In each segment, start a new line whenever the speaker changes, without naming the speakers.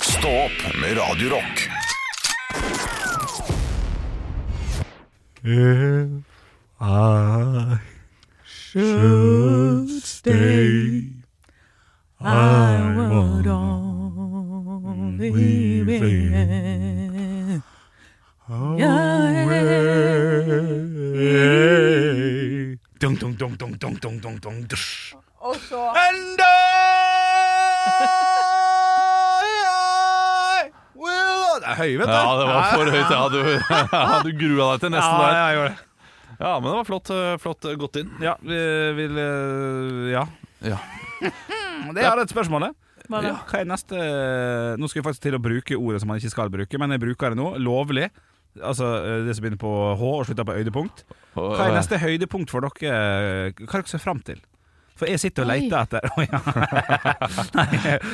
Stå opp med Radio Rock.
If I should stay, I would only be away.
Dunk, dunk, dunk, dunk, dunk, dunk, dunk, dunk. dusj.
Og så
And I, I will Det er høye, vet du.
Ja, det var for høyt. Ja, du, ja, du grua deg til
Ja,
nesten der.
ja, jeg gjorde det.
Ja, men det var flott, eh, flott eh, gått inn.
Ja, vi vil eh, Ja.
Ja.
Det er et spørsmål, det.
var det.
Ja, hva er neste Nå skal jeg faktisk til å bruke ordet som man ikke skal bruke, men jeg bruker det nå. Lovlig. Altså eh, det som begynner på H og slutter på øydepunkt.
Og, eh,
Hva er neste høydepunkt for dere? Hva er dere ser fram til? For jeg sitter og
Oi.
leter etter Å, ja. Nei,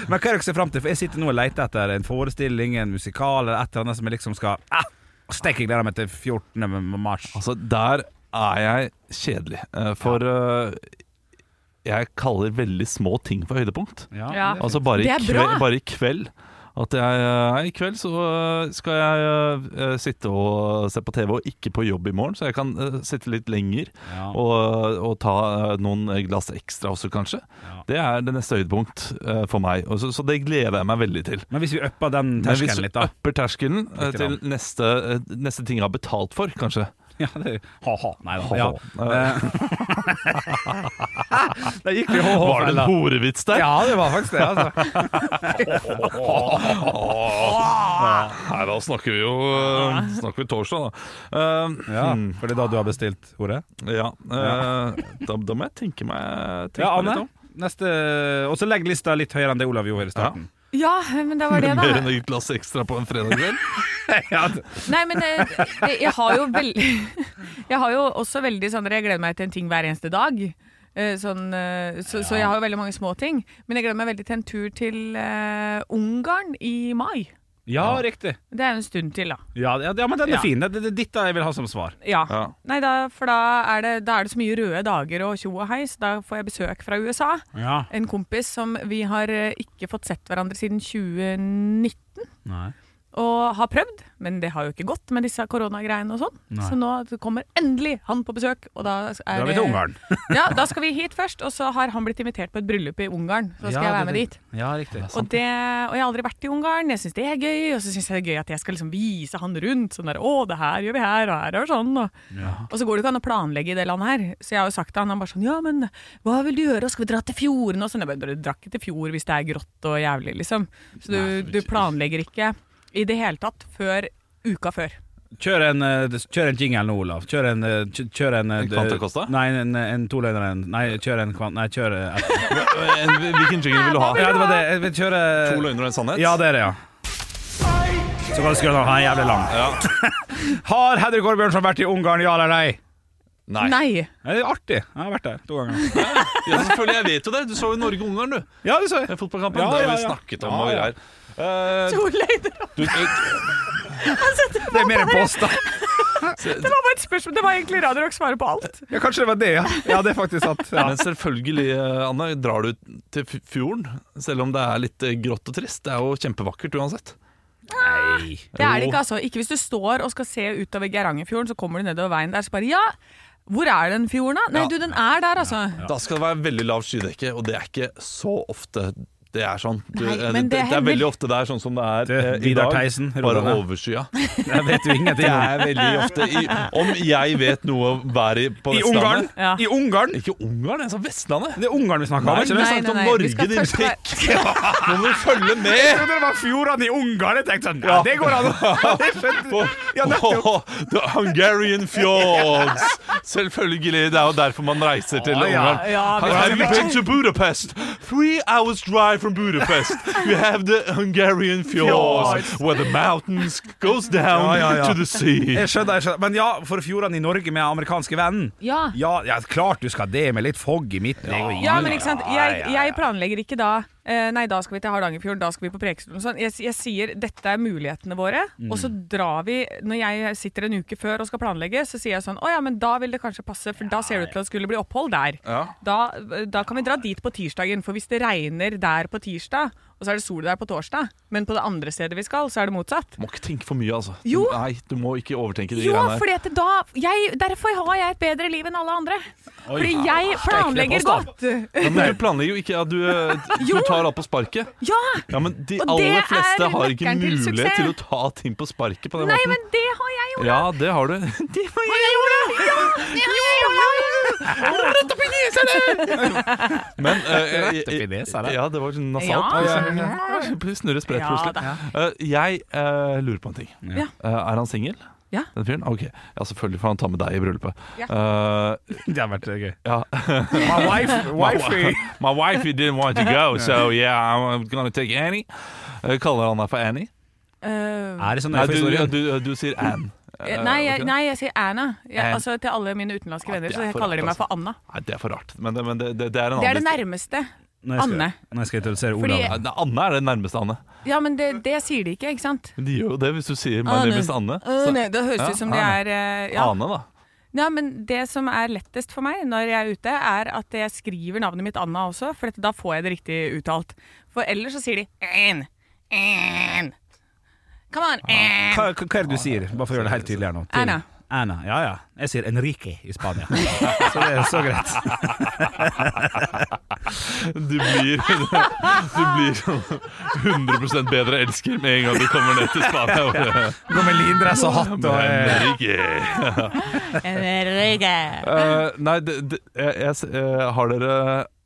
Men hva er dere ser fram til? For jeg sitter nå og leter etter en forestilling, en musikal eller et eller annet som jeg liksom skal ah, Steik, jeg gleder meg til 14. mars.
Altså, der er jeg kjedelig. eh, For eh, jeg kaller veldig små ting for høydepunkt.
Ja,
Ja.
det er fint.
Altså bare i,
Det er bra.
kveld, bare i kveld. At jeg eh, nei, i kveld så eh, skal jeg eh, sitte og se på TV, og ikke på jobb i morgen, så jeg kan eh, sitte litt lenger
Ja.
og, og ta eh, noen glass ekstra også, kanskje.
Ja.
Det er det neste høydepunkt eh, for meg, og så, så det gleder jeg meg veldig til.
Men hvis vi upper den
Men hvis
terskelen
du
litt, da.
upper terskelen eh,
Litt
til
grann.
neste, eh, neste ting jeg har betalt for, kanskje.
Ja, det er Ha-ha. Nei da.
Ha-ha.
Ja. Da gikk vi ha-ha.
Var det en horevits der?
Ja, det var faktisk det. Altså.
Nei, da snakker vi jo
Ah.
eh, snakker vi torsdag, da. Eh,
Ja, for det er da du har bestilt ordet?
ja, eh, da, da må jeg tenke meg, tenke
Ja,
meg litt
Anne.
om.
Neste, og så legg lista litt høyere enn det Olav gjorde i starten.
Ja, men det var det,
Mer enn
da.
et glass ekstra på en fredag kveld?
Ja, altså. det-
Nei, men eh, det- jeg har jo veldig Jeg har jo også veldig sånn Jeg gleder meg til en ting hver eneste dag. Eh, Sånn, eh, så, så jeg har jo veldig mange små ting. Men jeg gleder meg veldig til en tur til eh, Ungarn i mai.
ja riktig.
Det er jo en stund til, da.
Ja, ja, ja, men den er
Ja.
fin. Det er ditt jeg vil ha som svar.
Ja.
Ja.
Nei, da, for da er, det, da er det så mye røde dager og tjo og heis. Da får jeg besøk fra USA.
Ja.
En kompis som vi har eh, ikke fått sett hverandre siden 2019.
Nei.
Og har prøvd, men det har jo ikke gått med disse koronagreiene og sånn.
Nei.
Så nå kommer endelig han på besøk, og da er
Da er vi
det-
til Ungarn.
Ja, da skal vi hit først, og så har han blitt invitert på et bryllup i Ungarn. Så da
Ja,
skal jeg være
det-
med dit.
Ja, riktig.
Og, det, og jeg har aldri vært i Ungarn, jeg syns det er gøy. Og så syns jeg det er gøy at jeg skal liksom vise han rundt. Sånn der, å, det her gjør vi her, og her er det sånn. Og, og så går det ikke an å planlegge i det landet her. Så jeg har jo sagt til han, han bare sånn, ja, men hva vil du gjøre, skal vi dra til fjorden og sånn. Jeg bare, du drar ikke til fjord hvis det er grått og jævlig, liksom. Så du, du planlegger ikke i det hele tatt før uka før.
Kjør en, eh, kjør en jingle nå, Olav. Kjør en eh, kj- Kjør en, eh,
En Quanta Costa?
Nei, en, en toløgner. en- Nei, kjør en kvant... Nei, kjør eh, et-
En, hvilken jingle vil du ha?
Ja, det var det. Jeg vil kjøre
To løgner og en sannhet?
Ja, det er det, ja. Så kan du skru den av. Han er jævlig lang. har Hedvig Gårdbjørnson vært i Ungarn, ja eller nei?
Nei.
Nei.
Ja, Det er artig. Jeg har vært der to ganger.
Ja, selvfølgelig, jeg vet jo det. Du så jo Norge-Ungarn, du.
Ja, det så
Den
jeg.
fotballkampen.
Ja,
det
ja,
har vi
ja.
snakket om
Ja,
og
ja.
greier. Eh,
To løgner.
du, eh,
Det er mer en post, da.
Det var bare et spørsmål. Det var egentlig Radio Rock svarer på alt.
Ja, kanskje det var det, ja. Ja, det er faktisk sant. Ja.
men selvfølgelig, eh, Anne, drar du til f- fjorden, selv om det er litt eh, grått og trist. Det er jo kjempevakkert uansett.
Nei.
Det er det ikke, altså. Ikke hvis du står og skal se utover Geirangerfjorden, så kommer du nedover veien der, så bare ja, hvor er den fjorden da? Nei,
Ja.
du, den er der, altså.
Da skal det være veldig lavt skydekke, og det er ikke så ofte det er sånn. Du,
Nei,
eh,
men det
det, det er
hender-
veldig ofte det er sånn som det er
Du,
eh, i
Vidar
dag.
Theisen, ro
bare
deg ned.
overskya.
Jeg vet jo
Det
ingenting.
er veldig ofte i, Om jeg vet noe om været på
I Ungarn!
Vestlandet
Ja.
I Ungarn!
Ikke Ungarn, jeg sa Vestlandet!
Det er Ungarn vi snakker om,
Nei,
ikke det?
nei. snakket om Norge,
vi skal
din
først være-
Nå må du følge med!
trodde det var fjordene i Ungarn. Jeg tenkte sånn, ja, det går an! Jeg skjønte- Ja, nettopp.
Åh, the Hungarian fjords! Selvfølgelig. Det er jo derfor man reiser til
Å, ja.
Ungarn.
Ja, vi
Have
skal-
you been to Budapest? Three hours drive from Budapest. We have the Hungarian fjords,
Fjords.
where the mountains goes down
Ja, ja, ja. Eh,
to the sea.
Jeg skjønner, jeg skjønner. Men ja, for fjordene i Norge med amerikanske vennen.
Ja.
Ja, ja, klart du skal det, med litt fogg i midten. Det går ingen-
ja, men ikke sant. Jeg,
Ja, ja,
jeg planlegger ikke da eh, Nei, da skal vi til Hardangerfjorden, da skal vi på Preikestolen og sånn. Jeg, jeg sier dette er mulighetene våre,
Mm.
og så drar vi Når jeg sitter en uke før og skal planlegge, så sier jeg sånn Å ja, men da vil det kanskje passe, for da ser det ut til at det skulle bli opphold der.
Ja.
Da, da kan vi dra dit på tirsdagen, for hvis det regner der på tirsdag og så er det sol der på torsdag. Men på det andre stedet vi skal, så er det motsatt.
Må ikke tenke for mye, altså.
Jo.
Nei, du må ikke overtenke de
Jo,
greiene der.
fordi at da jeg, Derfor har jeg et bedre liv enn alle andre. fordi jeg planlegger
påstand.
godt.
Ja, men du planlegger jo ikke at du,
Jo.
du tar alt på sparket.
Ja!
Ja, men De
Og det
aller
er
fleste har ikke
nøkkelen til
mulighet
suksess.
til å ta ting på sparket på den
Nei,
måten.
men det har jeg gjort!
Ja, det har du.
Det har jeg gjort! Ja, det har jeg gjort!
Men eh,
Rett opp i nesa, det.
Ja, det var sånn nasalt.
Ja,
Ja, Snurre spredt
Ja,
plutselig. Eh, jeg eh, lurer på en ting.
Ja.
Eh, er han singel?
Ja.
Den fyren? Ok, ja, selvfølgelig får han ta med deg i bryllupet. Eh,
Det har vært gøy.
ja.
My wife, wifey.
My wife he didn't want to go, so yeah, I'm gonna take Annie. Eh, kaller han deg for Annie?
Eh,
Er det sånn
Nei,
der
du,
historie?
du, du sier Ann. Eh,
nei, jeg,
ok.
nei, jeg sier Erna. Jeg,
Ann.
altså, til alle mine utenlandske venner
det
så
er
jeg
for
kaller de
rart,
meg for Anna.
Nei, det er for rart. Men, det- men det, det, det er en
Det er det
annen
nærmeste.
Når jeg skal-
Anne.
Når jeg skal introdusere
Fordi-
Olav.
Anne- Anne er det nærmeste Anne.
Ja, men det, det sier de ikke, ikke sant?
Men De gjør jo det hvis du sier
Ah,
my name is Anne. Så,
Anne. Det høres
Ja,
ut som det
Anne.
er eh, ja.
Ane, da.
ja, men det som er lettest for meg når jeg er ute, er at jeg skriver navnet mitt Anna også, for dette, da får jeg det riktig uttalt. For ellers så sier de Ann. Ann. Come on,
Ah,
Ann.
Hva, hva hva er det du sier? Bare for å gjøre det helt tydelig her nå. Til-
Anna.
Anna. Ja ja. Jeg sier Enrique i Spania. Så det er så greit.
Du blir, du blir sånn 100 bedre elsker med en gang du kommer ned til Spania.
Gå med lindress og hatt og eh,
Enrique.
Enrique.
Eh, nei, det, det, jeg, jeg, s- eh, har dere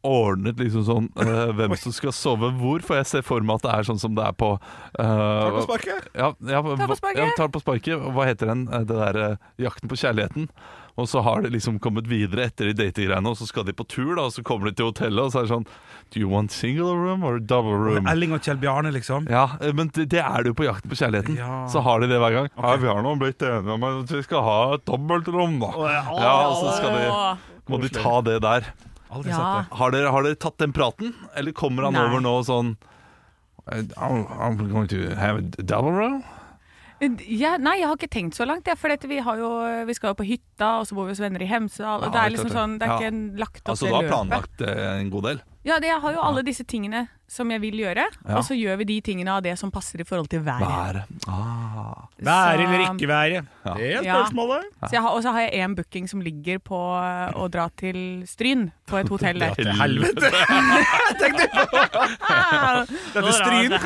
ordnet liksom sånn eh, hvem som skal sove hvor? For jeg ser for meg at det er sånn som det er på eh, Ja, ja, hva-
på sparket.
Ja, tar på sparket. Hva heter den? Eh, Det der eh, Jakten på kjærligheten. Og så har de liksom kommet videre etter de datinggreiene, og så skal de på tur, da, og så kommer de til hotellet, og så er det sånn Do you want single room or double room?
Elling og Kjell Bjarne, liksom.
Ja, eh, men det, det er det jo på Jakten på kjærligheten.
Ja.
Så har de det hver gang. Ja, vi har nå blitt enige om at vi skal ha et dobbeltrom, da. Ja, altså. og så skal de, må de ta det der.
Aldri
Ja.
sett det.
Har dere, har dere tatt den praten, eller kommer han
Nei.
over nå sånn I'm, I'm going to have a double room?
Ja, nei, jeg har ikke tenkt så langt. jeg, For dette, vi, har jo, vi skal jo på hytta, og så bor vi hos venner i Hemsedal. og det
Ja,
er
det er
liksom
klart
sånn,
det.
det er
Ja.
ikke en lagt opp
Altså,
det
du har
løpet.
planlagt eh, en god del?
Ja, det, jeg har jo alle disse tingene som jeg vil gjøre.
Ja.
Og så gjør vi de tingene av det som passer i forhold til været.
Været. Ah.
Være
Så-
eller ikke være? Det er
Ja.
spørsmålet.
Så jeg har, og så har jeg én booking som ligger på eh, å dra til Stryn, på et hotell der.
Til helvete!
Ah!
Dette er Stryn.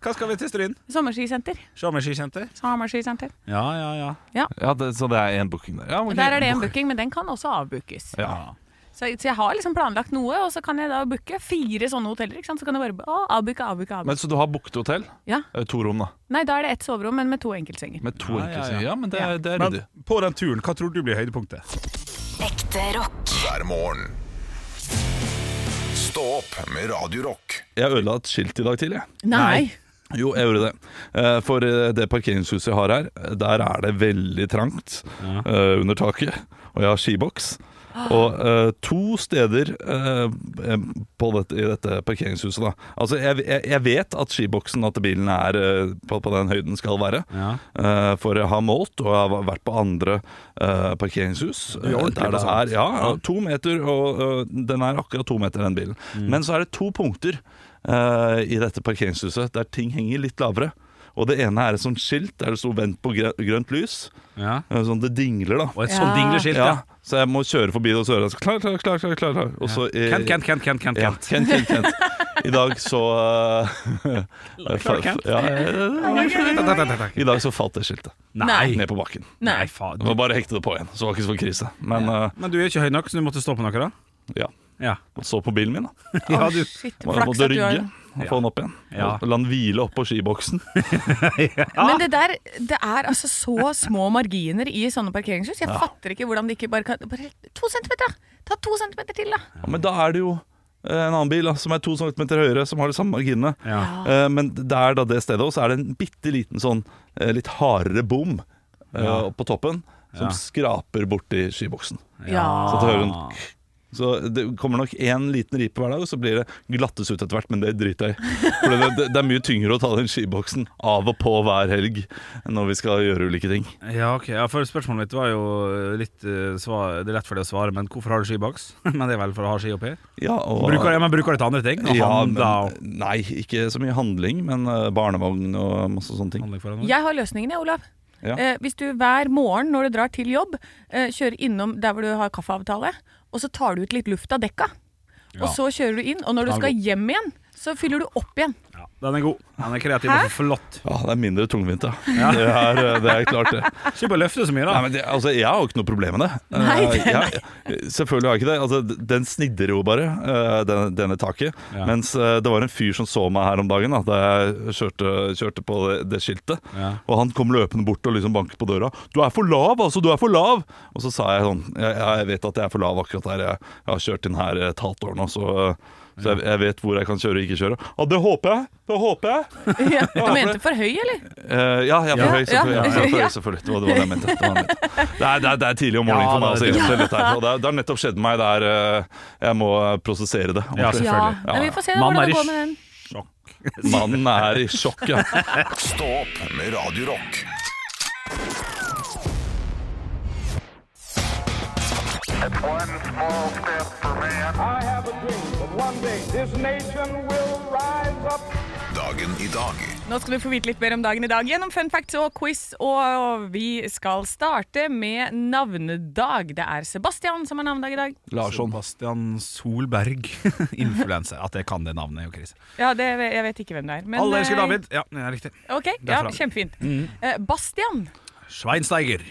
Hva skal vi til Stryn?
Sommerskisenter.
Sjåmennskisenter?
Sommerskisenter.
Ja, ja, ja.
Ja, det, så det er én booking der. Ja, ok.
Der er det en booking, men den kan også avbookes.
Ja.
Så, så jeg har liksom planlagt noe, og så kan jeg da booke fire sånne hoteller. ikke sant? Så kan jeg bare å, avbooke, avbooke, avbooke.
Men, så du har booket hotell?
Ja.
Eh, To rom, da.
Nei, da er det ett soverom, men med to enkeltsenger.
Med
Ja,
to
ja,
enkeltsenger.
ja.
ja, men det, er- det er
Men
ryddig.
på den turen, hva tror du blir høydepunktet?
Ekte rock.
hver morgen. Stå opp med Radio Rock.
Jeg ødela et skilt i dag tidlig. jeg.
Nei.
Jo, jeg gjorde det. Eh, For eh, det parkeringshuset jeg har her, eh, der er det veldig trangt eh, under taket. Og jeg har skiboks. Og eh, to steder eh, på dette, i dette parkeringshuset, da. Altså, jeg, jeg, jeg vet at skiboksen at bilen er eh, på, på den høyden skal være.
Ja.
Eh, for jeg har målt, og jeg har vært på andre eh, parkeringshus.
er ordentlig
der det
på sånt.
er ja, ja, to meter, og eh, den er akkurat to meter, den bilen.
Mm.
Men så er det to punkter eh, i dette parkeringshuset der ting henger litt lavere. Og det ene er et sånt skilt der det sto 'vent på grø- grønt lys'.
Ja.
Eh, Sånn det dingler, da.
Og et
Ja.
sånt dingleskilt,
Ja,
ja.
så jeg må kjøre forbi det og så hører jeg så klar, klar, klar, klar, klar, klar. Og så, eh,
Kent, Kent, Kent, Kent, Kent.
Ja,
Kent.
Kent, Kent, Kent. I dag så eh,
klar, Kent.
Ja, ja, ja. I dag så falt det skiltet
Nei.
ned på bakken.
Nei.
faen.
Det var bare å hekte det på igjen, så det var ikke så krise. Men eh,
Men du er ikke høy nok, så du måtte stå på noe, da?
ja.
Ja.
Måtte stå på bilen min, da.
Ja, du.
Shit,
Jeg
flaks
måtte
at du har
rygge og få den opp igjen.
Ja.
Og La den hvile oppå skiboksen.
Men det der, det er altså så små marginer i sånne parkeringshus. Jeg fatter ikke hvordan de ikke bare kan bare, To centimeter, da! Ta to centimeter til, da!
Ja, men da er det jo eh, en annen bil da, som er to centimeter høyere, som har de samme marginene.
Ja.
Eh, Men der da det stedet også er det en bitte liten sånn eh, litt hardere bom eh,
Ja.
på toppen, som
Ja. Ah.
skraper borti skiboksen.
Ja.
Så det hører en Så det kommer nok én liten ripe hver dag, og så blir det glattes ut etter hvert, men det driter jeg i. For det, det, det er mye tyngre å ta den skiboksen av og på hver helg når vi skal gjøre ulike ting.
Ja, ok. Ja, for spørsmålet mitt var jo litt eh, svar, Det er lett for deg å svare, men hvorfor har du skiboks? men det er vel for å ha ski oppi?
Ja, og,
Bruker, ja, men bruker du til andre ting? Og
ja,
handler
men, nei, ikke så mye handling, men eh, barnevogn og masse sånne
og
ting.
handler for andre?
Jeg har løsningen, jeg, Olav.
Ja.
Eh, hvis du hver morgen når du drar til jobb, eh, kjører innom der hvor du har kaffeavtale, og så tar du ut litt luft av dekka.
Ja.
Og så kjører du inn, og når du
Den er
skal hjem igjen, så fyller du opp igjen.
Ja, den er god. Den er kreativ
Hæ?
og flott.
Ja, det er mindre tungvint, ja. Det, er, eh, det er klart, det.
Ikke bare løfte så mye, da.
Nei, men det, altså, jeg har jo ikke noe problem med det.
Nei, det-
Eh, jeg, selvfølgelig har jeg ikke det. Altså, d- den snidder jo bare, eh, den, denne taket.
Ja.
Mens eh, det var en fyr som så meg her om dagen da, da jeg kjørte, kjørte på det, det skiltet.
Ja.
Og han kom løpende bort og liksom banket på døra. 'Du er for lav, altså! Du er for lav!' Og så sa jeg sånn Jeg, jeg vet at jeg er for lav akkurat her. Jeg, jeg har kjørt inn her et halvt år nå, så, eh, så jeg, jeg vet hvor jeg kan kjøre og ikke kjøre. Ja, det håper jeg! Det håper jeg!
Ja. Du mente for høy, eller?
Eh, ja, jeg er for
Ja.
høy, selvfølgelig.
Ja.
Ja, jeg er for
Ja.
høy, selvfølgelig. Det var det var det jeg mente. Det, var det, jeg mente. det, er, det, er, det er tidlig om morgenen
Ja,
for meg.
det er
Altså, egentlig, dette her. Og det, er- det har nettopp skjedd meg. Det er, eh, jeg må prosessere det.
Ja,
ordentlig.
selvfølgelig.
Ja. Nei, vi får se
Mann
hvordan
er
det
i
går med den.
Sjokk.
Mannen er i sjokk, ja.
Stå opp med Radio Rock.
I have a dream that one day this nation will rise up.
Dagen i dag
Nå skal du få vite litt mer om dagen i dag gjennom fun facts og quiz. Og vi skal starte med navnedag. Det er Sebastian som har navnedag i dag.
Larsson.
Bastian Solberg. Influenser. At jeg kan det navnet, er jo krise.
Ja, det, Jeg vet ikke hvem det er. men,
Alle elsker
eh,
David. Ja, det er Mm. riktig.
Ok, ja,
Derfra.
Kjempefint. Eh, Bastian.
Schweinsteiger.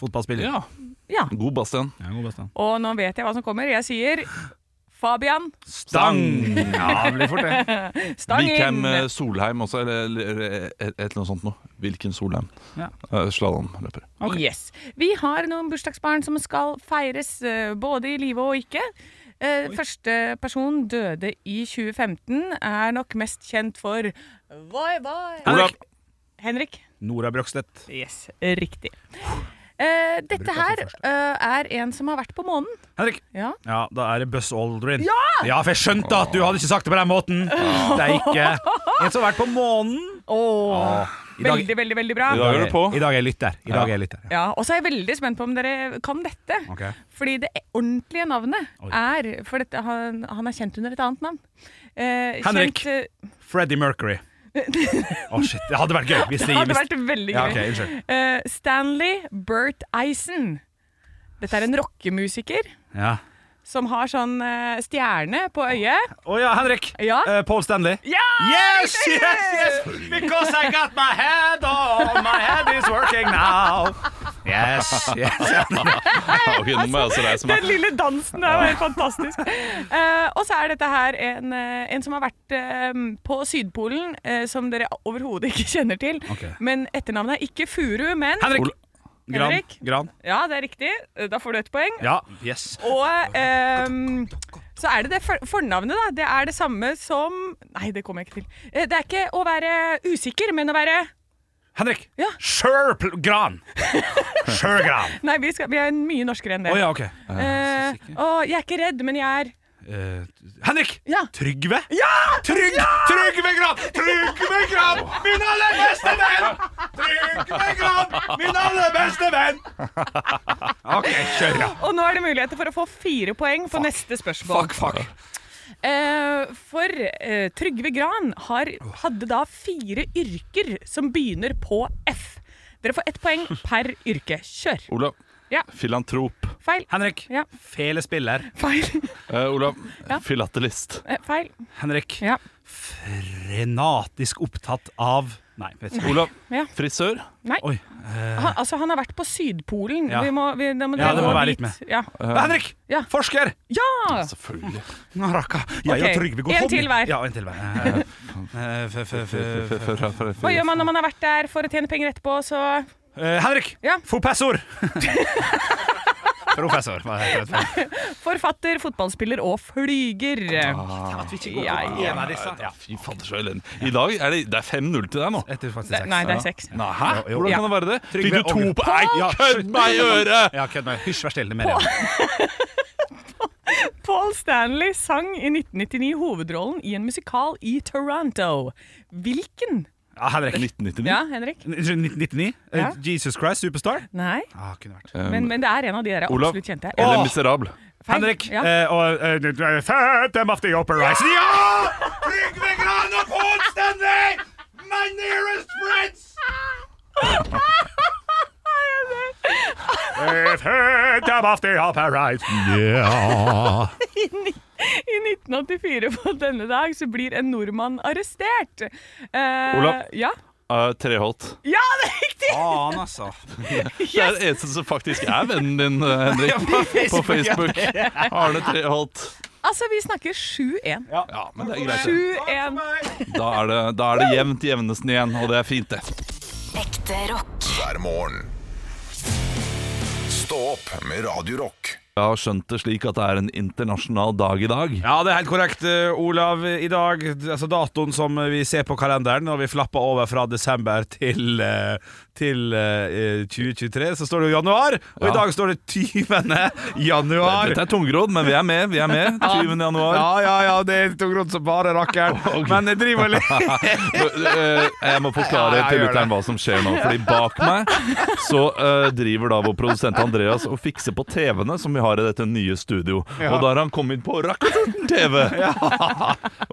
Fotballspiller.
Ja.
Ja.
God Bastian.
Ja, god Bastian.
Og nå vet jeg hva som kommer. Jeg sier Fabian
Stang! Ja, det blir fort det.
Stangen.
Vikheim eh, Solheim også, eller, eller et et eller annet sånt noe. Hvilken Solheim?
Ja.
Eh, Slalåmløper.
Yes. Vi har noen bursdagsbarn som skal feires, eh, både i live og ikke. Eh, første person døde i 2015, er nok mest kjent for Voi Voi.
Olav.
Henrik.
Nora Brokstedt.
Yes, riktig. Eh, dette her eh, er en som har vært på månen.
Henrik.
Ja.
Ja, da er det Buzz Aldrin. Ja! for jeg skjønte at du hadde ikke sagt det på den måten. Det er ikke En som har vært på månen.
Åh,
I dag-
veldig, veldig, veldig bra.
I dag er du på.
I dag er jeg lytter. I dag er jeg lytter.
Ja, Og så er jeg veldig spent på om dere kan dette.
Ok.
Fordi det ordentlige navnet
Oi.
er For dette, han, han er kjent under et annet navn. Eh,
Henrik.
Kjent, eh,
Freddie Mercury. Å, shit. Det hadde vært gøy. Hvis de,
det hadde
hvis,
vært veldig gøy.
Ja, ok, unnskyld.
Eh, Stanley Bert Eisen. Dette er en rockemusiker
ja.
som har sånn eh, stjerne på øyet.
Å ja, Henrik.
Ja.
Eh, Paul Stanley.
Ja!
Yes, yes, yes! Because I got my head on. My head is working now. Yes, yes.
Ja, ok, nå må jeg også reise
Den
meg.
lille dansen der var helt fantastisk. Eh, og så er dette her en, eh, en som har vært eh, på Sydpolen, eh, som dere overhodet ikke kjenner til.
Ok.
Men etternavnet er ikke Furu, men
Henrik.
Ol-
Gran.
Henrik.
Gran.
Ja, det er riktig. Eh, Da får du ett poeng.
Ja. Yes.
Og ehm, så er det det for fornavnet, da. Det er det samme som Nei, det kommer jeg ikke til. Eh, Det er ikke å være usikker, men å være
Henrik.
Ja.
Sjør pl- Gran. Sjør Gran.
Nei, vi, skal, vi er mye norskere enn det.
Å ja, OK.
Eh, og jeg er ikke redd, men jeg er
Eh, Henrik!
Ja.
Trygve? Ja! Trygg, Trygve Gran! Trygve Gran, min aller beste venn! Trygve Gran, min aller beste venn! OK, kjør, ja.
Og nå er det muligheter for å få fire poeng på neste spørsmål.
Fuck, fuck.
Eh, for eh, Trygve Gran har, hadde da fire yrker som begynner på F. Dere får ett poeng per yrke. Kjør.
Olav.
Ja.
Filantrop.
Feil.
Henrik.
Ja.
Felespiller.
Feil.
Eh, Olav.
Ja.
Filatelist.
Eh, Feil.
Henrik.
Ja.
Frenatisk opptatt av Nei, vet ikke.
Olav.
Ja.
Frisør.
Nei.
Oi.
Han, altså, han har vært på Sydpolen.
Ja.
Vi må, vi, da må
Ja,
dere
det må
gå
være
dit.
litt med.
Ja.
Eh,
Henrik!
Ja.
Forsker!
ja!
Selvfølgelig.
Nå rakka jeg
Ok,
og Trygve går
en
hånd i-
til hver.
Ja, en til hver. Eh, eh, f- f- f- f-
Fra- fra- fra-
Hva gjør man når man har vært der for å tjene penger etterpå, så
Eh, Henrik!
Ja.
Professor! Professor. Hva heter det?
Forfatter, fotballspiller og flyger.
Ah. At vi ikke
går på Ja, ja.
en av disse. Ja.
Fy fader, så elendig. I dag er det, det er 5-0 til deg nå.
Jeg tror faktisk
Det-
seks.
Nei, det er seks.
Nei, hæ?
Jo, jo.
Hvordan
Ja.
kan det være det?
Trygve
Fikk du to
Ogre.
på Nei,
Ja,
kødd meg i øret!
Ja, kødd meg. Hysj, vær stille. Mer igjen.
Paul Stanley sang i 1999 hovedrollen i en musikal i Toronto. Hvilken?
Ja, Henrik.
1999.
Ja,
Mm.
Henrik?
1999? Eh,
Ja.
Jesus Christ, Superstar?
Nei,
Ah, kunne vært.
Um,
men, men det er en av de der
Olav,
absolutt kjente.
eller
Åh,
Miserable.
feil.
Henrik
Ja.
eh, og eh, Phantom of the Opera Rise. Ja! Trygve Gran og Paul Stanley! My nearest friends! Eh, Phantom of the Opera Rise. Yeah.
I ni- I 1984 på denne dag så blir en nordmann arrestert. Eh,
Olav?
Ja.
Eh, Treholt.
ja, det er riktig!
Faen, altså.
Det er den eneste som faktisk er vennen din, eh, Henrik, på Facebook. Arne Treholt.
Altså, vi snakker 7-1.
Ja, men det er greit. det.
7-1.
Da er det, da er det jevnt i jevnesten igjen, og det er fint, det.
Ekte rock.
hver morgen. Stå opp med Radio Rock.
Jeg har skjønt det slik at det er en internasjonal dag i dag.
Ja, det er helt korrekt, eh, Olav. I dag, altså datoen som vi ser på kalenderen, når vi flapper over fra desember til, eh, til eh, 2023, så står det jo januar. Og i
Ja.
dag står det 20. januar.
Dette er tungrodd, men vi er med. Vi er med 20. januar.
Ja, ja, ja, det er tungrodd som bare rakkeren. Men jeg driver og ler.
Eh, Jeg må forklare
Ja, ja,
til
gjør
lytteren hva som skjer nå. Fordi bak meg så eh, driver da vår produsent Andreas og fikser på TV-ene som vi har i dette nye studio. Og da har han kommet på Rakkerten TV!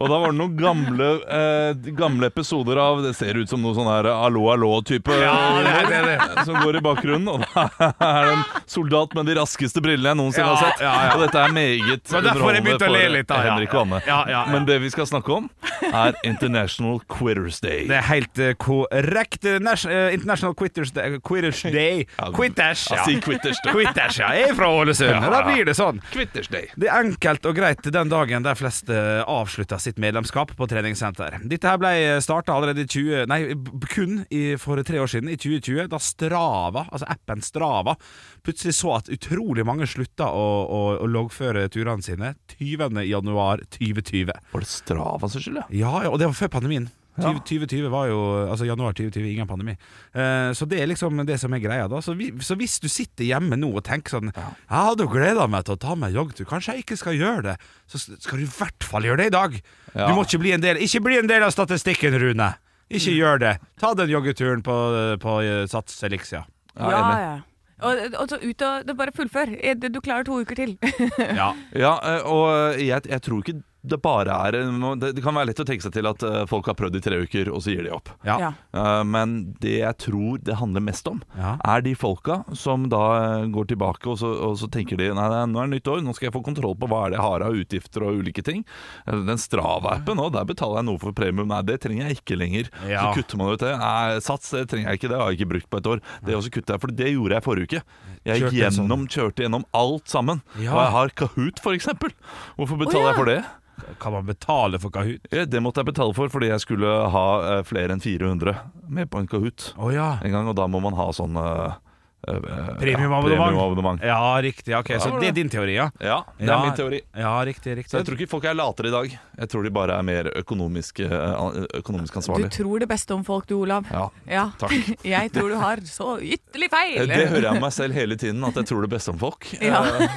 Og da var det noen gamle, eh, gamle episoder av Det ser ut som noe sånn her allo, allo-type
det er det,
som går i bakgrunnen. Og da er det en soldat med de raskeste brillene jeg noensinne
Ja,
har sett.
ja, ja.
Og dette er meget
var derfor jeg begynte å
underholdende for
le litt, da, ja.
Henrik Vanne.
Ja, ja, ja.
Men det vi skal snakke om, er International Quitters Day.
Det er helt eh, korrekt. Eh, Nas- eh, International Quitters Day. Quitters Day. Quitters,
Ja,
ja.
si Quitters Day.
Quitters, ja. Jeg er fra Ålesund,
Ja,
og da
ja.
blir det sånn.
Quitters Day.
Det er enkelt og greit den dagen de fleste avslutta sitt medlemskap på treningssenter. Dette her ble starta allerede i 20... Nei, b- kun i, for tre år siden, i 2020, da Strava, altså appen Strava, plutselig så at utrolig mange slutta å, å, å loggføre turene sine 20.1.2020.
Var det Strava sin skyld, ja?
Ja, ja, og det var før pandemien. 20, 2020 var jo Altså januar 2020, ingen pandemi. Eh, så det er liksom det som er greia, da. Så, vi, så hvis du sitter hjemme nå og tenker sånn Jeg hadde jo gleda meg til å ta meg en joggetur, kanskje jeg ikke skal gjøre det. Så s- skal du i hvert fall gjøre det i dag!
Ja.
Du må ikke bli en del Ikke bli en del av statistikken, Rune! Ikke
Mm.
gjør det. Ta den joggeturen på, på eh, Sats Elixia.
Ja, ja. Og, og så ut og det er Bare fullfør. Eh, Du du klarer to uker til.
Ja.
Ja, eh, og jeg, jeg tror ikke det bare er Det det kan være lett å tenke seg til at eh, folk har prøvd i tre uker, og så gir de opp.
Ja.
Ja.
Eh, Men det jeg tror det handler mest om,
Ja.
er de folka som da eh, går tilbake og så, og så tenker de Nei, nei, nå er det nytt år, nå skal jeg få kontroll på hva er det jeg har av utgifter og ulike ting. Eh, Den Strava-appen òg, der betaler jeg noe for premium. Nei, det trenger jeg ikke lenger.
Ja.
Så kutter man ut det. Nei, sats, det trenger jeg ikke, det har jeg ikke brukt på et år. Det også kutter jeg, for det gjorde jeg forrige uke. Jeg
Kjørte
gikk
en sånn-
gjennom, kjørte gjennom alt sammen.
Ja.
Og jeg har Kahoot, for eksempel. Hvorfor
Å,
betaler
ja.
jeg for det?
Kan man betale for Kahoot?
Ja, Det måtte jeg betale for fordi jeg skulle ha eh, flere enn 400 med på en Kahoot
Å ja.
en gang, og da må man ha sånn eh, eh, eh,
Premiumabonnement.
Ja, premiumabonnement.
Ja, riktig. Ok, Så det er din teori, ja?
ja, det er
Ja.
min teori.
Ja, riktig, riktig.
Så jeg tror ikke folk er latere i dag. Jeg tror de bare er mer økonomisk, eh, økonomisk
Du
ansvarlig.
tror det beste om folk, du, Olav.
Ja,
Ja.
takk. Eh,
Jeg tror du har så ytterlig feil!
Det hører jeg om meg selv hele tiden, at jeg tror det beste om folk.
Ja.
Eh,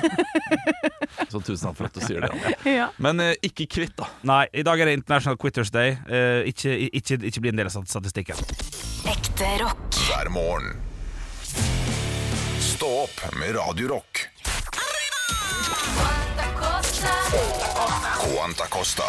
Så tusen takk for at du sier det. Anne.
Ja.
Men eh, ikke kvitt, da.
Nei, i dag er det International Quitters Day. Eh, ikke, ikke, ikke bli en del av stat- statistikken.
Ekte rock.
hver morgen. Stå opp med Radio Rock. Quanta Costa.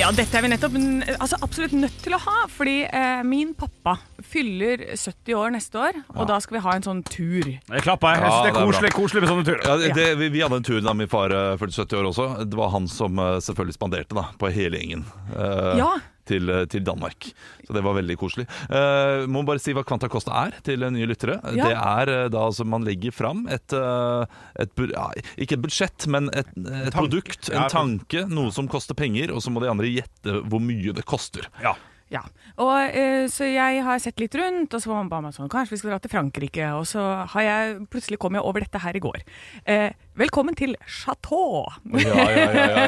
Ja, dette er vi nettopp n- altså, absolutt nødt til å ha, fordi eh, min pappa fyller 70 år neste år, og da skal vi ha en sånn tur.
Jeg klapper. Eh, Jeg
Ja,
synes det
det
er
er
koselig, koselig med sånne turer.
Ja, det, vi, vi hadde en tur da min far eh, fylte 70 år også. Det var han som eh, selvfølgelig spanderte da, på hele gjengen eh,
Ja.
til, eh, til Danmark. Så det var veldig koselig. Eh, må bare si hva Quanta Costa er til eh, nye lyttere.
Ja.
Det er eh, da altså man legger fram et, eh, et bu- ja, Ikke et budsjett, men et, et produkt, en
Ja, et produkt.
tanke, noe som koster penger, og så må de andre gjette hvor mye det koster.
Ja.
Ja. Og, eh, så jeg har sett litt rundt, og så var mamma sånn Kanskje vi skal dra til Frankrike? Og så har jeg, plutselig kom jeg over dette her i går. Eh, velkommen til Chateau!
Ja, ja, ja, ja,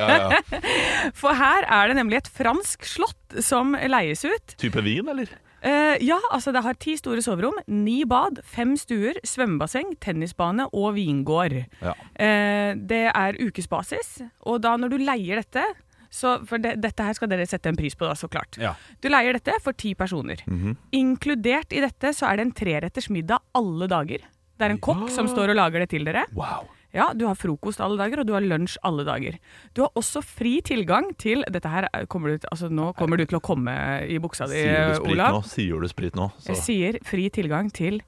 ja.
For her er det nemlig et fransk slott som leies ut.
Type vin, eller?
Eh, ja, altså det har ti store soverom, ni bad, fem stuer, svømmebasseng, tennisbane og vingård.
Ja.
Eh, det er ukesbasis, og da når du leier dette så for det, Dette her skal dere sette en pris på, da, så klart.
Ja.
Du leier dette for ti personer.
Mhm.
Inkludert i dette så er det en treretters middag alle dager. Det er en kokk som står og lager det til dere.
Wow.
Ja, Du har frokost alle dager, og du har lunsj alle dager. Du har også fri tilgang til Dette her er- kommer du, til- altså, Nå kommer du til å komme i buksa di,
Sier du
Eh,
sprit
Olav.
nå? Sier du sprit nå?
Jeg sier fri tilgang til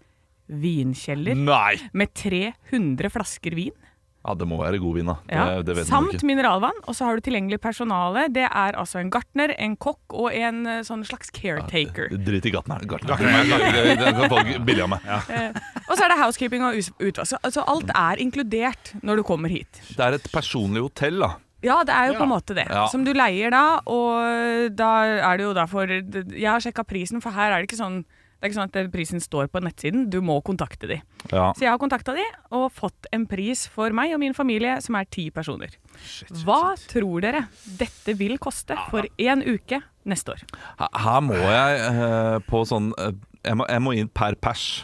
vinkjeller
Nei!
med 300 flasker vin.
Ja, det må være god vin, da.
Ja.
Det, det vet man
Samt
ikke.
mineralvann. Og så har du tilgjengelig personale. Det er altså en gartner, en kokk og en eh, sånn slags caretaker.
Drit i gartneren. Gartneren Den kan folk billig av meg.
Og så er det housekeeping og us- utvask. Så altså, alt er inkludert når du kommer hit.
Det er et personlig hotell, da.
Ja, det er jo på en måte det.
Ja.
Som du leier da, og eh, da er det jo da for Jeg har sjekka prisen, for her er det ikke sånn det er ikke sånn at prisen står på nettsiden, du må kontakte de.
Ja.
Så jeg har kontakta de og fått en pris for meg og min familie, som er ti personer. Hva tror dere dette vil koste
Ah.
for én uke neste år?
Her- Her må jeg eh, på sånn eh, jeg, må, jeg må inn per pers.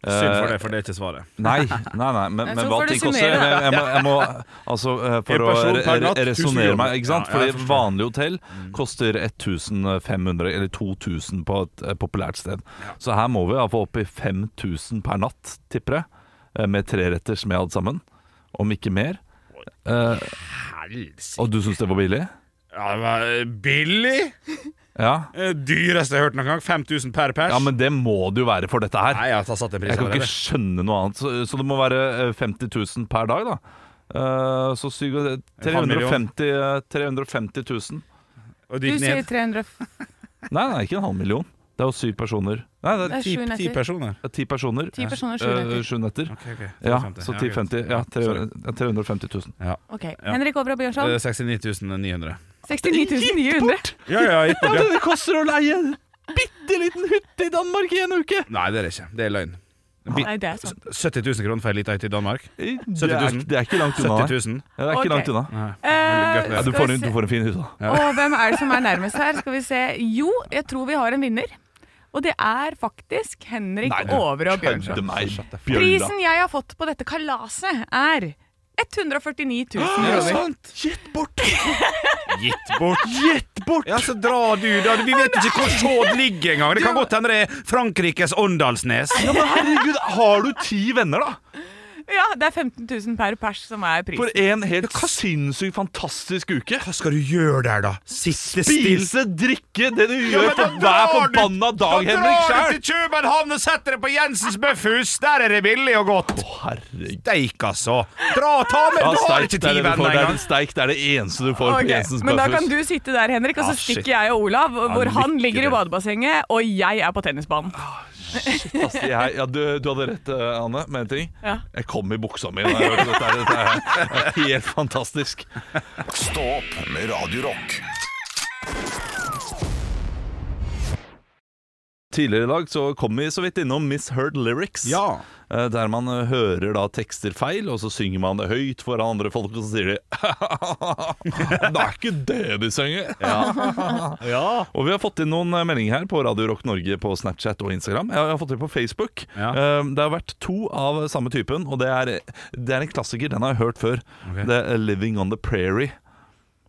Eh,
Synd for det, for det er ikke svaret.
Nei, nei, nei, men,
Nei,
men
så
hva
får du
ting koster
summere,
jeg,
da.
jeg, må, jeg må Altså, eh,
En
for å
person per natt, 1000
resonnere
kroner.
meg, ikke
Ja,
sant?
jeg
Fordi
forstår. Mm.
vanlig hotell koster 1500 eller 2000 på et eh, populært sted. Så her må vi iallfall opp i 5000 per natt, tipper jeg. eh, Med treretters med alt sammen. Om ikke mer. Eh,
Helsike.
og du syns det var billig?
Ja, det var eh, billig!
Ja.
Eh, Dyreste jeg har hørt noen gang. 5000 per pers.
ja, men det må det jo være for dette her.
Nei, jeg har satt en pris
Jeg kan ikke
allerede.
skjønne noe annet. Så, så det må være eh, 50 000 per dag, da. Eh, så syv-
En halv million.
350, eh, 350 000.
Og
Du
det gikk
sier
ned
300
Nei, nei, ikke en halv million. Det er jo syv personer. Nei, det
Det er
er
ti,
sju
ti
netter.
personer.
ti, ti personer.
Ti personer, sju
Eh,
netter.
Sju netter.
Ok, ok.
Ja,
50.
så
Ja,
1050.
greit.
Ja, tre-
Sorry.
ja, 350 000.
Ok,
Ja.
Henrik Over og Bjørnson,
Eh, 69 900.
69 900.
Ja, ja, gitt bort, ja.
det koster å leie en bitte liten hytte i Danmark i en uke!
Nei, det er det ikke. Det er løgn.
Nei, det er sant.
70 000 kroner for ei lita hytte i Danmark.
Det
70
er,
000.
det er ikke langt unna.
70
her.
000.
Ja, det er ikke
Ok.
langt unna.
Nei.
Eh,
Ja, du,
Skal
får
vi
en, du
se-
får en fin hytte, da.
Og hvem er det som er nærmest her? Skal vi se. Jo, jeg tror vi har en vinner. Og det er faktisk Henrik
Nei, du
Over og
Kødde
Bjørnson.
meg, bjølla.
Prisen jeg har fått på dette kalaset, er 149 000
Er det
kroner.
sant? Gitt bort! Gitt bort. Gitt bort! Ja, så drar du, da. Vi vet ikke hvor Sjåd ligger engang. Det kan godt hende det er Frankrikes Åndalsnes.
Ja, men herregud, har du ti venner, da?
Ja, det er 15 000 per pers som er prisen.
For en helt sinnssykt fantastisk uke.
Hva skal du gjøre der, da? Sitte stille?
Spise, drikke, det du gjør
men da
på hver
drar du-
forbanna dag, Henrik
Da drar
sjæl.
du til København og setter deg på Jensens Bøffhus. Der er det billig og godt.
Herregud.
Steik, altså. Dra og ta med
Ja,
Du har
steik,
ikke
det er
ti
det du får.
venner Ah,
Det er
engang.
steik, det er det eneste du får. på
Ok,
Jensens
Men da
Bøffhus.
kan du sitte der, Henrik, og så
Ah, shit.
stikker jeg og Olav, hvor han
lykke
ligger i
til.
badebassenget, og jeg er på tennisbanen.
Ass, jeg, ja, du, du hadde rett, eh, Anne, med en ting.
Ja.
Jeg kom i buksa mi. da jeg hørte Dette, her. dette er helt fantastisk.
Stå opp med Radio Rock.
Tidligere i dag så kom vi så vidt innom Misheard Lyrics.
Ja.
Eh, Der man eh, hører da tekster feil, og så synger man det høyt for andre folk, og så sier de Det er ikke det de synger! Og vi har fått inn noen eh, meldinger her på Radio Rock Norge på Snapchat og Instagram. Jeg har fått det på Facebook.
Ja.
Eh, Det har vært to av samme typen, og det er, det er en klassiker. Den har jeg hørt før.
Ok.
Det er 'Living on the Prairie'.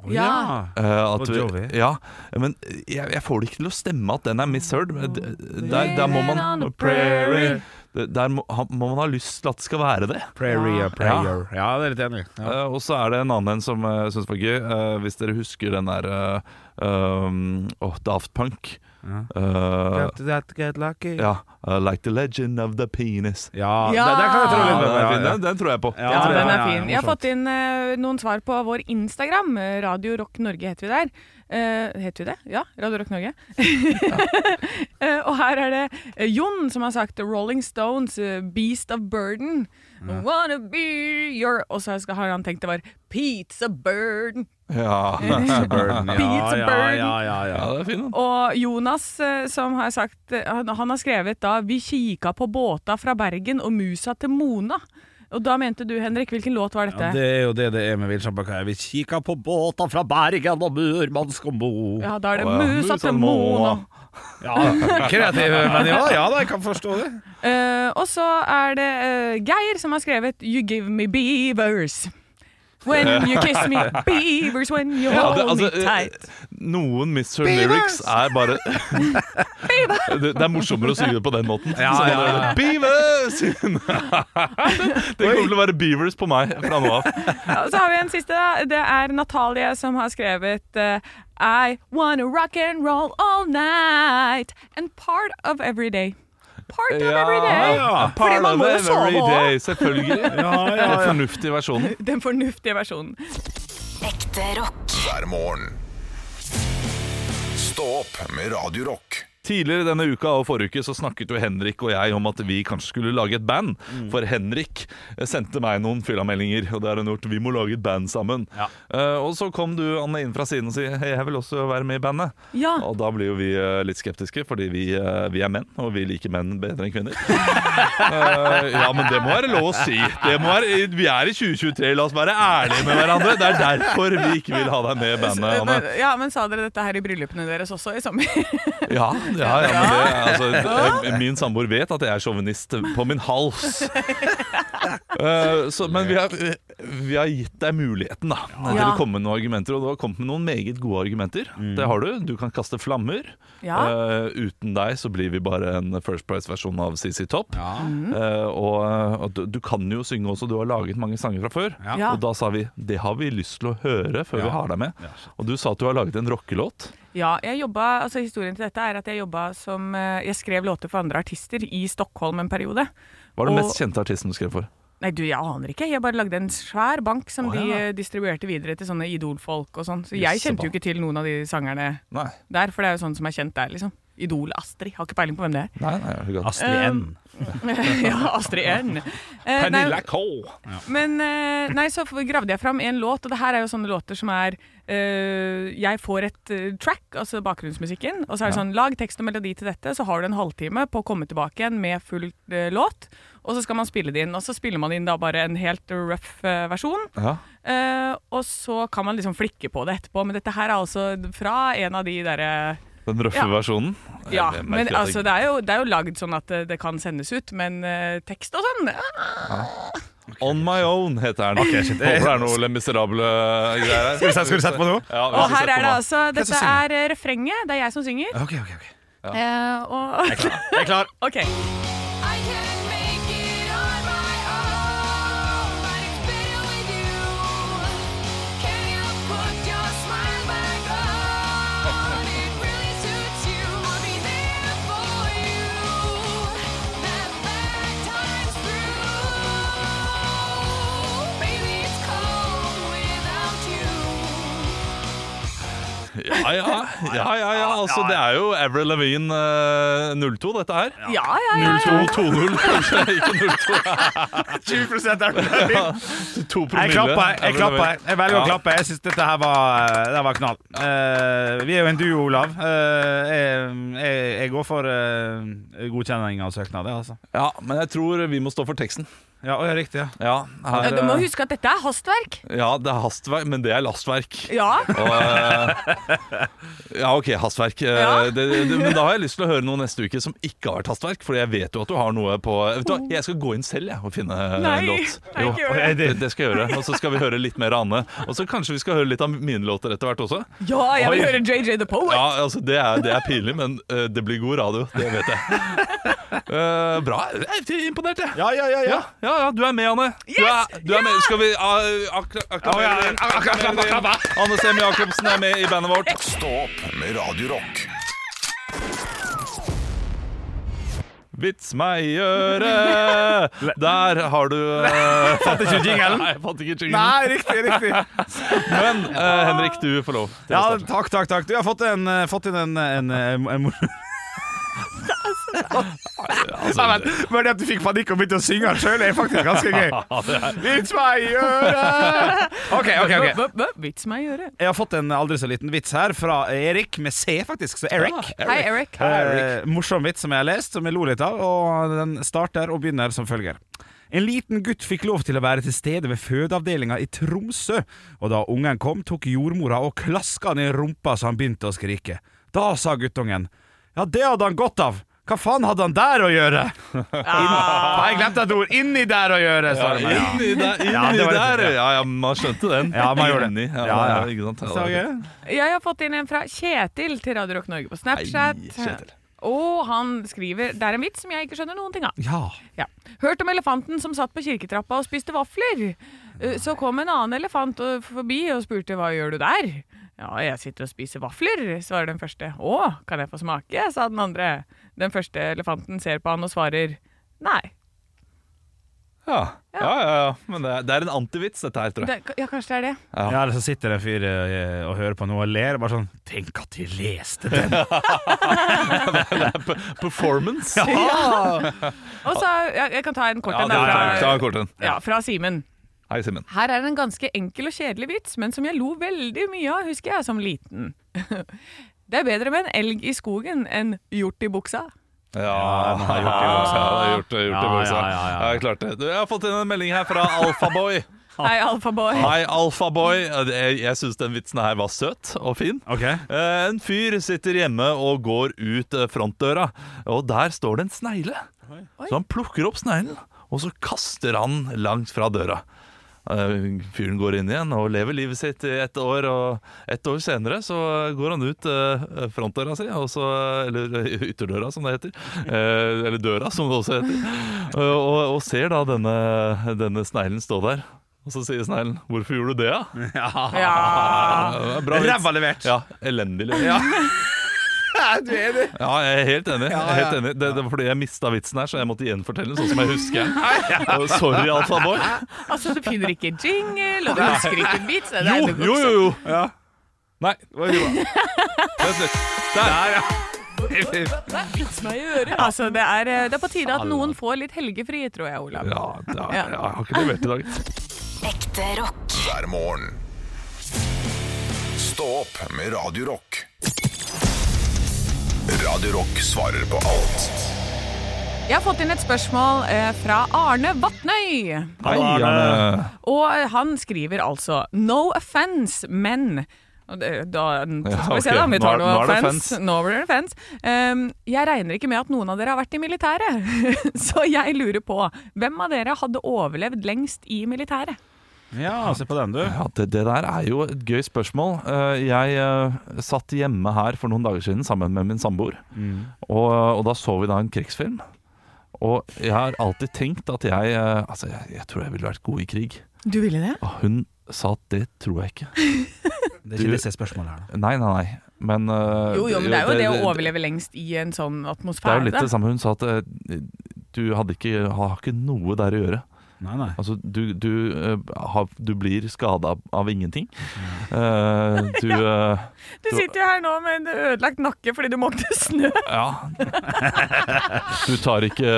Ja.
Eh, at
Bon Jovi.
vi, ja, men jeg, jeg får det ikke til å stemme at den er misheard. men d- Der, der må
Living on
man
the prairie.
Der- Der må, ha- må man ha lyst til at det skal være det.
Prairie og prayer. Ja, det er litt enig. Ja.
Eh, og så er det en annen en som jeg syns var gøy. eh, hvis dere husker den der eh, um, åh, Daft Punk.
Ja.
Eh,
Got that, get lucky. Ja,
ja, eh, Like the legend of the penis.
Ja.
det, det kan jeg tro litt på.
den, er
Ja,
fin,
ja.
den, den tror jeg på.
Ja,
Ja,
det
den
er-
er
ja, ja,
fin. Jeg har
morsomt.
fått inn eh, noen svar på vår Instagram. eh, Radio Rock Norge heter vi der. Eh, heter vi det? Ja, Radio Rock Norge. Eh, og her er det eh, Jon som har sagt 'Rolling Stones, eh, Beast of Burden'. Wanna be your Og så skal- har han tenkt det var 'Pizza Burden'.
Ja.
Ja, ja, ja, ja,
ja,
ja.
det er fin, den.
Og Jonas eh, som har sagt eh, Han, han har skrevet da 'Vi kika på båta fra Bergen og musa til Mona'. Og da mente du, Henrik, hvilken låt var dette?
Ja, det er jo det det er med Vilsjambakaya. Vi kikka på båta fra Bergen og Murmansk og Mo.
Ja, da er det
Å, ja.
musa til
Musa
Mona.
Ja, kreative mennesker. Ja da, jeg kan forstå det.
Eh, og så er det eh, Geir som har skrevet You give me beavers When you kiss me Beavers when you
Ja,
hold
det- altså,
me
eh,
tight
noen Miss Her lyrics er bare det, det er morsommere å synge det på den måten.
Ja,
Sånn
ja, ja.
at det er Beavers! det kommer til å være Beavers på meg fra nå av.
Ja, Og så har vi en siste da. Det er Natalie som har skrevet eh, I wanna rock and roll all night And part of every day Part of every day
ja.
Fordi man må jo sove
every
også.
day, selvfølgelig. Den fornuftige versjonen.
Den fornuftige versjonen
Ekte rock.
hver morgen. Stå opp med Radio Rock.
Tidligere denne uka og forrige uke så snakket jo Henrik og jeg om at vi kanskje skulle lage et band. For Henrik eh, sendte meg noen fyllameldinger, og det har hun gjort. Vi må lage et band sammen.
Ja.
Eh, og så kom du, Anne, inn fra siden og sier hei, jeg vil også være med i bandet.
Ja.
Og da blir jo vi eh, litt skeptiske, fordi vi, eh, vi er menn, og vi liker menn bedre enn kvinner. Eh, ja, men det må være lov å si. Det må være, vi er i 2023, la oss være ærlige med hverandre. Det er derfor vi ikke vil ha deg med i bandet, Anne.
men, ja, men sa dere dette her i bryllupene deres også i sommer?
Ja, ja, ja, men det, altså, eh, min samboer vet at jeg er sjåvinist på min hals. Eh, så, men vi har, vi har gitt deg muligheten da, til å
Ja.
komme med noen argumenter. Og du har kommet med noen meget gode argumenter.
Mm.
Det har du. Du kan kaste flammer.
Ja.
Eh, uten deg så blir vi bare en First Price-versjon av CC Topp.
Mm.
Eh, og og du, du kan jo synge også. Du har laget mange sanger fra før.
Ja.
Ja.
Og da sa vi det har vi lyst til å høre før
Ja.
vi har deg med. Og du sa at du har laget en rockelåt.
Ja, jeg jobba, altså historien til dette er at jeg jobba som eh, Jeg skrev låter for andre artister i Stockholm en periode.
Hva er den
Og-
mest kjente artisten du skrev for?
Nei, du, jeg aner ikke. Jeg bare lagde en svær bank som
Å,
de
ja.
eh, distribuerte videre til sånne Idol-folk og sånn. Så jeg
Jøssebarn.
kjente jo ikke til noen av de sangerne
Nei,
der, for det er jo sånn som er kjent der, liksom. Idol Astrid. Har ikke peiling på hvem det er.
nei, nei jeg har ikke hatt-
Astrid N.
ja, Astrid N. Eh, nei,
Pernilla K.
Men eh, nei, så gravde jeg fram en låt, og det her er jo sånne låter som er eh, Jeg får et eh, track, altså bakgrunnsmusikken, og så er det sånn lag tekst og melodi til dette, så har du en halvtime på å komme tilbake igjen med full eh, låt, og så skal man spille det inn. Og så spiller man inn da bare en helt rough eh, versjon,
Ja.
eh, og så kan man liksom flikke på det etterpå. Men dette her er altså fra en av de derre
Den røffe
Ja.
versjonen.
Ja,
Jeg merker
men
at jeg-
altså, det er, jo, det er jo lagd sånn at eh, det kan sendes ut, men eh, tekst og sånn eh,
On My Own heter den.
shit.
Håper det er noe Les Miserable eh, greier her.
Skal du sette på noe?
Ja, vi
Og her
skal sette
er det
på
altså
er det som
Dette er eh, refrenget. Det er jeg som synger.
Ok, ok, ok
Eh, og
Jeg er klar.
OK.
noe. Ja, ja, ja, ja, ja. Altså, det er jo Avril Lavigne eh, 02, dette her.
Ja, ja, ja.
0220, kanskje. Ikke 02.
20 er det.
To
Jeg klapper,
promille.
jeg
Avril
klapper.
Lavigne.
Jeg velger å
Ja.
klappe. Jeg syns dette her var, det var knall. Eh, vi er jo en duo, Olav. Eh, jeg, jeg, jeg går for eh, godkjenning av søknader, altså.
Ja, men jeg tror vi må stå for teksten.
Ja, å, ja, riktig, ja.
Ja, her,
Ja, Du må
eh,
huske at dette er hastverk.
ja, det er hastverk, men det er lastverk.
Ja.
Og, eh, ja, ok, hastverk. Eh,
Ja.
Det, det, men da har jeg lyst til å høre noe neste uke som ikke har vært hastverk. Fordi jeg vet jo at du har noe på Vet du hva, Jeg skal gå inn selv jeg, og finne en
Nei,
låt.
nei, ikke gjør
det. det skal jeg gjøre. Og så skal vi høre litt mer av Anne. Og så kanskje vi skal høre litt av mine låter etter hvert også.
Ja, jeg vil
Oi.
høre JJ The Poet.
Ja, altså Det er, det er pinlig, men eh, det blir god radio. Det vet jeg. Eh, bra. Jeg er imponert, jeg.
Ja, ja, ja.
Ja, ja, ja, du er med, Anne. Du er, du er med. Skal vi uh, akla, aklamere
Ja, ja,
din?
akla- akla-
Aklamere din.
akla-
Anne Sem Jacobsen er med i bandet vårt.
Stå opp med Radio Rock
Vits meg i øret! Der har du eh,
Fant ikke jingelen?
Nei, jeg fant ikke jinglen.
Nei, riktig, riktig.
Men eh, Henrik, du får lov. til
Ja,
å starte.
takk, takk, takk. Du har fått, en, eh, fått inn en, en, en, en mor-
Altså,
Nei, men Bare det at du fikk panikk og begynte å synge den sjøl, er faktisk ganske gøy. Vits meg i øret! OK, OK. ok
Bø, bø, bø, Vits meg i øret.
Jeg har fått en aldri så liten vits her fra Erik, med C faktisk, så Erik.
Hei, Eric.
Eh, morsom vits som jeg har lest, som jeg lo litt av. Og Den starter og begynner som følger. En liten gutt fikk lov til å være til stede ved fødeavdelinga i Tromsø. Og da ungen kom, tok jordmora og klaska han i rumpa så han begynte å skrike. Da sa guttungen Ja, det hadde han godt av. Hva faen hadde han der å gjøre? Faen, Jeg glemte et ord. Inni der å gjøre, sa de. Ja.
Inni der, inni
Ja, det var det-
der. Ja, ja, man skjønte den.
Ja, man gjorde det.
Inni, Ja,
Ja,
ja,
ja.
Ikke sant? Ja,
Så
det var
gøy.
Jeg har fått inn en fra Kjetil til Radio Rock Norge på Snapchat.
Hei, Kjetil.
og han skriver Det er en vits som jeg ikke skjønner noen ting av.
Ja.
Ja. Hørt om elefanten som satt på kirketrappa og spiste vafler. Eh, Så kom en annen elefant og- forbi og spurte hva gjør du der? Ja, jeg sitter og spiser vafler, svarer den første. Å, kan jeg få smake? sa den andre. Den første elefanten ser på han og svarer nei.
Ja, ja, ja, ja. Men det er, det er en antivits, dette her, tror jeg.
Det, ja, kanskje det er det.
ja, eller så sitter det en fyr eh, og hører på noe og ler. Bare sånn Tenk at de leste den!
Performance.
Og så, ja, Jeg kan ta en kort
Ja,
en.
det er,
da,
ta
fra,
kort en.
ja, fra Simen.
Hei, Simen.
Her er en ganske enkel og kjedelig vits, men som jeg lo veldig mye av, husker jeg, som liten. Det er bedre med en elg i skogen enn hjort i buksa.
Ja, jeg har gjort det. Ja, jeg har gjort det, gjort det
Ja,
også.
ja, ja, ja.
Jeg har klart det. Du, jeg har fått inn en melding her fra Alfaboy.
Hei, alfaboy.
Hei, Alfaboy. Jeg, jeg syns den vitsen her var søt og fin.
Ok.
Eh, En fyr sitter hjemme og går ut eh, frontdøra, og der står det en snegle. Så han plukker opp sneglen, og så kaster han langt fra døra. Eh, Fyren går inn igjen og lever livet sitt i ett år, og ett år senere så går han ut eh, frontdøra si, og så, eller eh, ytterdøra som det heter, eh, eller døra som det også heter, eh, og, og ser da denne, denne sneglen stå der. Og så sier sneglen 'Hvorfor gjorde du det', da?
Ja.
Ja, det er bra vits.
Ræva levert!
Ja, elendig levering. Ja. jeg er helt enig. Jeg er helt enig. Det, det var fordi jeg mista vitsen her, så jeg måtte gjenfortelle den sånn som jeg husker. den. Og Sorry, Alfaboy.
Altså, du finner ikke jingle, og du husker ikke en vits. det er
Jo,
det går
jo,
ikke.
jo! jo. Nei. Vent litt. Der, ja.
Vits meg i øret. Altså, det er, eh, det er på tide at noen får litt helgefri, tror jeg, Olav.
Ja, ja, ja, jeg har ikke levert i dag.
Ekte rock.
hver morgen. Stå opp med Radio Rock. Radio Rock svarer på alt
Jeg har fått inn et spørsmål eh, fra Arne Vatnøy.
Hei, Arne.
Og eh, han skriver altså No offense, men Og det- da, Skal vi se,
ok.
da. om Vi tar
Nå er-
noe
nå er det
offense.
offense.
Nå blir det offense. Ehm, jeg regner ikke med at noen av dere har vært i militæret, så jeg lurer på hvem av dere hadde overlevd lengst i militæret?
Ja, se på den, du.
Ja, det, det der er jo et gøy spørsmål. Eh, Jeg eh, satt hjemme her for noen dager siden sammen med min samboer,
Mm.
og, og da så vi da en krigsfilm. Og jeg har alltid tenkt at jeg eh, Altså, jeg, jeg tror jeg ville vært god i krig.
Du ville det?
Og hun sa at det tror jeg ikke.
Det
Du-
er ikke disse spørsmålene her, da.
Nei, nei, nei. Men eh,
Jo, jo, men det er jo det å overleve lengst i en sånn
Det er
atmosfære.
jo litt
da.
det samme. Hun sa at eh, du hadde ikke, har ikke noe der å gjøre.
Nei, nei.
Altså, du, du, eh, har, du blir skada av ingenting. Eh, du eh,
Du sitter jo her nå med en ødelagt nakke fordi du måkte snø.
Ja. Du tar ikke,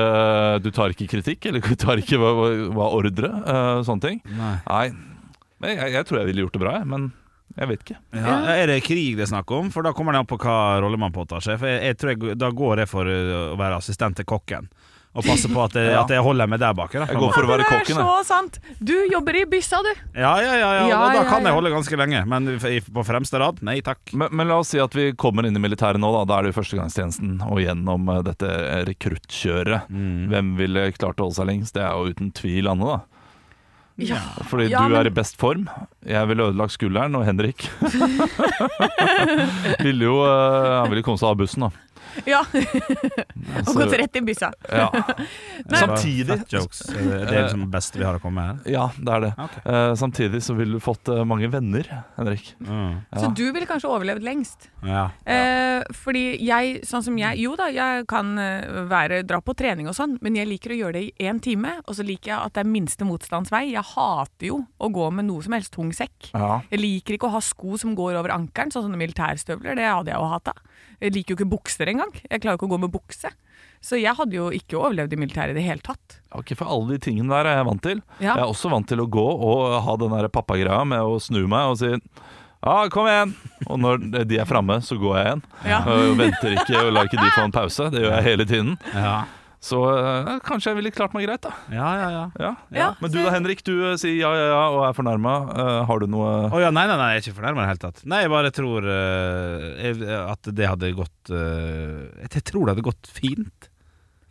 du tar ikke kritikk, eller du tar ikke hva, hva- hva ordre, eh, sånne ting.
nei.
Nei, men jeg, jeg tror jeg ville gjort det bra, jeg, men jeg vet ikke.
Ja, er det krig det er snakk om? For da kommer det an på hva rolle man påtar seg. For jeg, jeg tror jeg, Da går jeg for uh, å være assistent til kokken. Og passe på at jeg,
Ja.
at jeg holder meg der bak. Da,
Jeg går for å være
Det er
kokken, jeg.
så sant! Du jobber i byssa, du.
Ja, ja, ja, ja.
Ja,
og da
ja,
kan
ja.
jeg holde ganske lenge. Men i- på fremste rad, nei takk.
Men, men la oss si at vi kommer inn i militæret nå, da. Da er det jo førstegangstjenesten og gjennom eh, dette rekruttkjøret.
Mm.
Mm.
Hvem ville klart å holde seg lengst? Det er jo uten tvil Anne, da.
Ja.
Fordi
Ja,
du
men-
er i best form. Jeg ville ødelagt skulderen, og Henrik ville jo eh, Han ville komme seg av bussen, da.
ja. Og
Så-
gått rett i byssa.
Ja. Samtidig
Fat jokes. Det er det som er best vi har å komme med her.
Ja, det er det.
Ok.
Eh, samtidig så ville du fått eh, mange venner, Henrik.
Mm.
Ja.
Så du ville kanskje overlevd lengst.
Ja.
Eh, fordi jeg, sånn som jeg Jo da, jeg kan eh, være, dra på trening og sånn, men jeg liker å gjøre det i én time. Og så liker jeg at det er minste motstands vei. Jeg hater jo å gå med noe som helst tung sekk.
Ja.
Jeg liker ikke å ha sko som går over ankelen, sånn som militærstøvler. Det hadde jeg jo hata. Jeg liker jo ikke bukser engang. Jeg klarer ikke å gå med bukse. Så jeg hadde jo ikke overlevd i militæret i det hele tatt.
Ok, For alle de tingene der er jeg vant til.
Ja.
Jeg er også vant til å gå og ha den der pappagreia med å snu meg og si ja, kom igjen! Og når de er framme, så går jeg igjen. Eh,
Ja.
Og venter ikke og lar ikke de få en pause. Det gjør jeg hele tiden.
Ja.
Så eh, kanskje jeg ville klart meg greit, da.
Ja, ja, ja.
Ja.
Ja,
Men du
så-
da, Henrik. Du eh, sier ja, ja, ja og er fornærma. har du noe
Å ja, nei, nei, nei, jeg er ikke fornærma i det hele tatt. Nei, jeg bare tror eh, jeg, at det hadde gått eh, Jeg tror det hadde gått fint.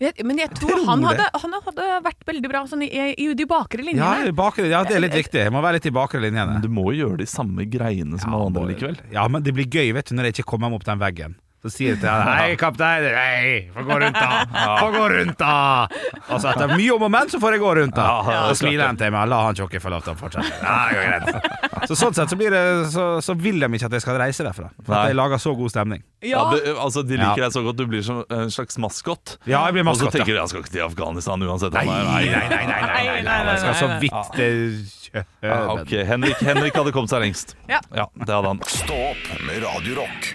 Jeg- Men jeg tror
tror
han
det.
hadde, han hadde vært veldig bra sånn i, i de bakre
Ja,
linjene.
i bakre, ja, det er litt viktig. Jeg må være litt i bakre linjene.
Men Du må jo gjøre de samme greiene som alle andre likevel.
Ja, men det blir gøy, vet du, når jeg ikke kommer meg opp den veggen. Så sier jeg til han Hei, kaptein! Hei! Få gå rundt, da! Få gå rundt, da! Og så etter mye om og men, så får jeg gå rundt, da.
Ja,
så smiler han til meg. La han tjokke få lov til å fortsette. Ja, det går greit. Så sånn sett så, blir det, så, så vil de ikke at jeg skal reise derfra. For
Nei.
at jeg lager så god stemning.
Ja,
Ja,
det, altså De liker
Ja.
deg så godt. Du blir som en slags maskott.
Ja, jeg blir
Og så
maskott, ja.
tenker de jeg skal ikke til Afghanistan uansett.
Nei,
Han er,
nei, nei, nei, nei, nei, nei, nei. Jeg skal så vidt eh,
Ja,
kjøpe
Ah, ok, Henrik, Henrik hadde kommet seg lengst.
Ja.
det hadde han.
Stå opp med Radio Rock.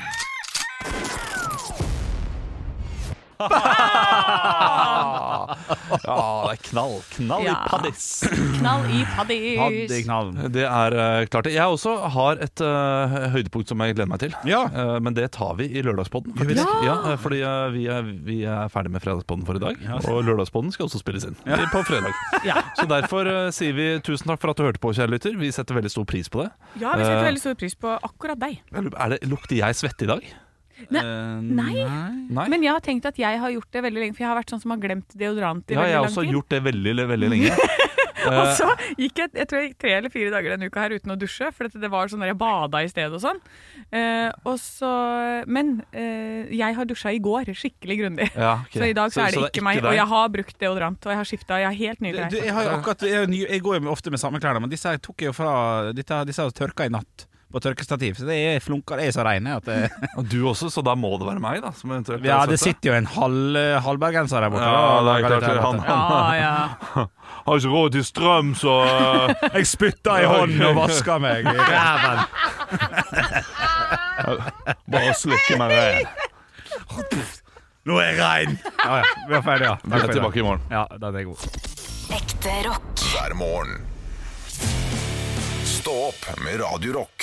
Ja, det er knall. Knall
Ja.
i paddis.
knall i
Hadde i
paddis.
knallen.
Det er eh, klart. det. Jeg også har et eh, høydepunkt som jeg gleder meg til.
Ja.
Eh, men det tar vi i lørdagspodden. faktisk. Ja, eh, fordi eh, vi, er, vi er ferdig med fredagspodden for i dag. Og lørdagspodden skal også spilles inn på fredag. Så derfor eh, sier vi tusen takk for at du hørte på, kjære lytter. Vi setter veldig stor pris på det.
Ja, vi setter veldig stor pris på akkurat deg.
Jeg lurer- Er det, lukter jeg svette i dag?
Eh,
Nei,
Nei.
men jeg har tenkt at jeg har gjort det veldig lenge, for jeg har vært sånn som har glemt deodorant i
ja,
veldig
jeg har
lang
også
tid.
gjort det veldig, veldig lenge.
Og så gikk jeg, jeg tror jeg gikk tre eller fire dager denne uka her uten å dusje, for at det var sånn der jeg bada i stedet og sånn. Eh, og så, men eh, jeg har dusja i går, skikkelig grundig.
Ja, ok.
Så i dag så,
Så-
er det
så
ikke, meg,
deg?
og jeg har brukt deodorant, og jeg har skifta, jeg har helt nye
Du, du,
klær.
jeg, har jo akkurat, jeg, er jo ny, jeg går jo med- ofte med samme klær, men disse her tok jeg jo fra Disse, disse har tørka i natt på tørkestativ, så det er flunker jeg er så reine at det,
Og Du også, så da må det være meg, da. Som eventuelt
Ja,
har
det
sett
sitter jo en halv, halvbergenser der borte.
Ja, det er
da,
klart det er
vet
han.
du.
Ja, ja.
Har ikke råd til strøm, så
Jeg spytta i hånden og vaska meg i ræven.
bare slukke meg rein.
Nå er jeg rein! Ja, ja, vi er ferdige, ja. Takk
Vi
for
er
i dag.
tilbake i morgen.
Ja, den er god.
Ekte rock.
hver morgen. Stå opp med Radio Rock.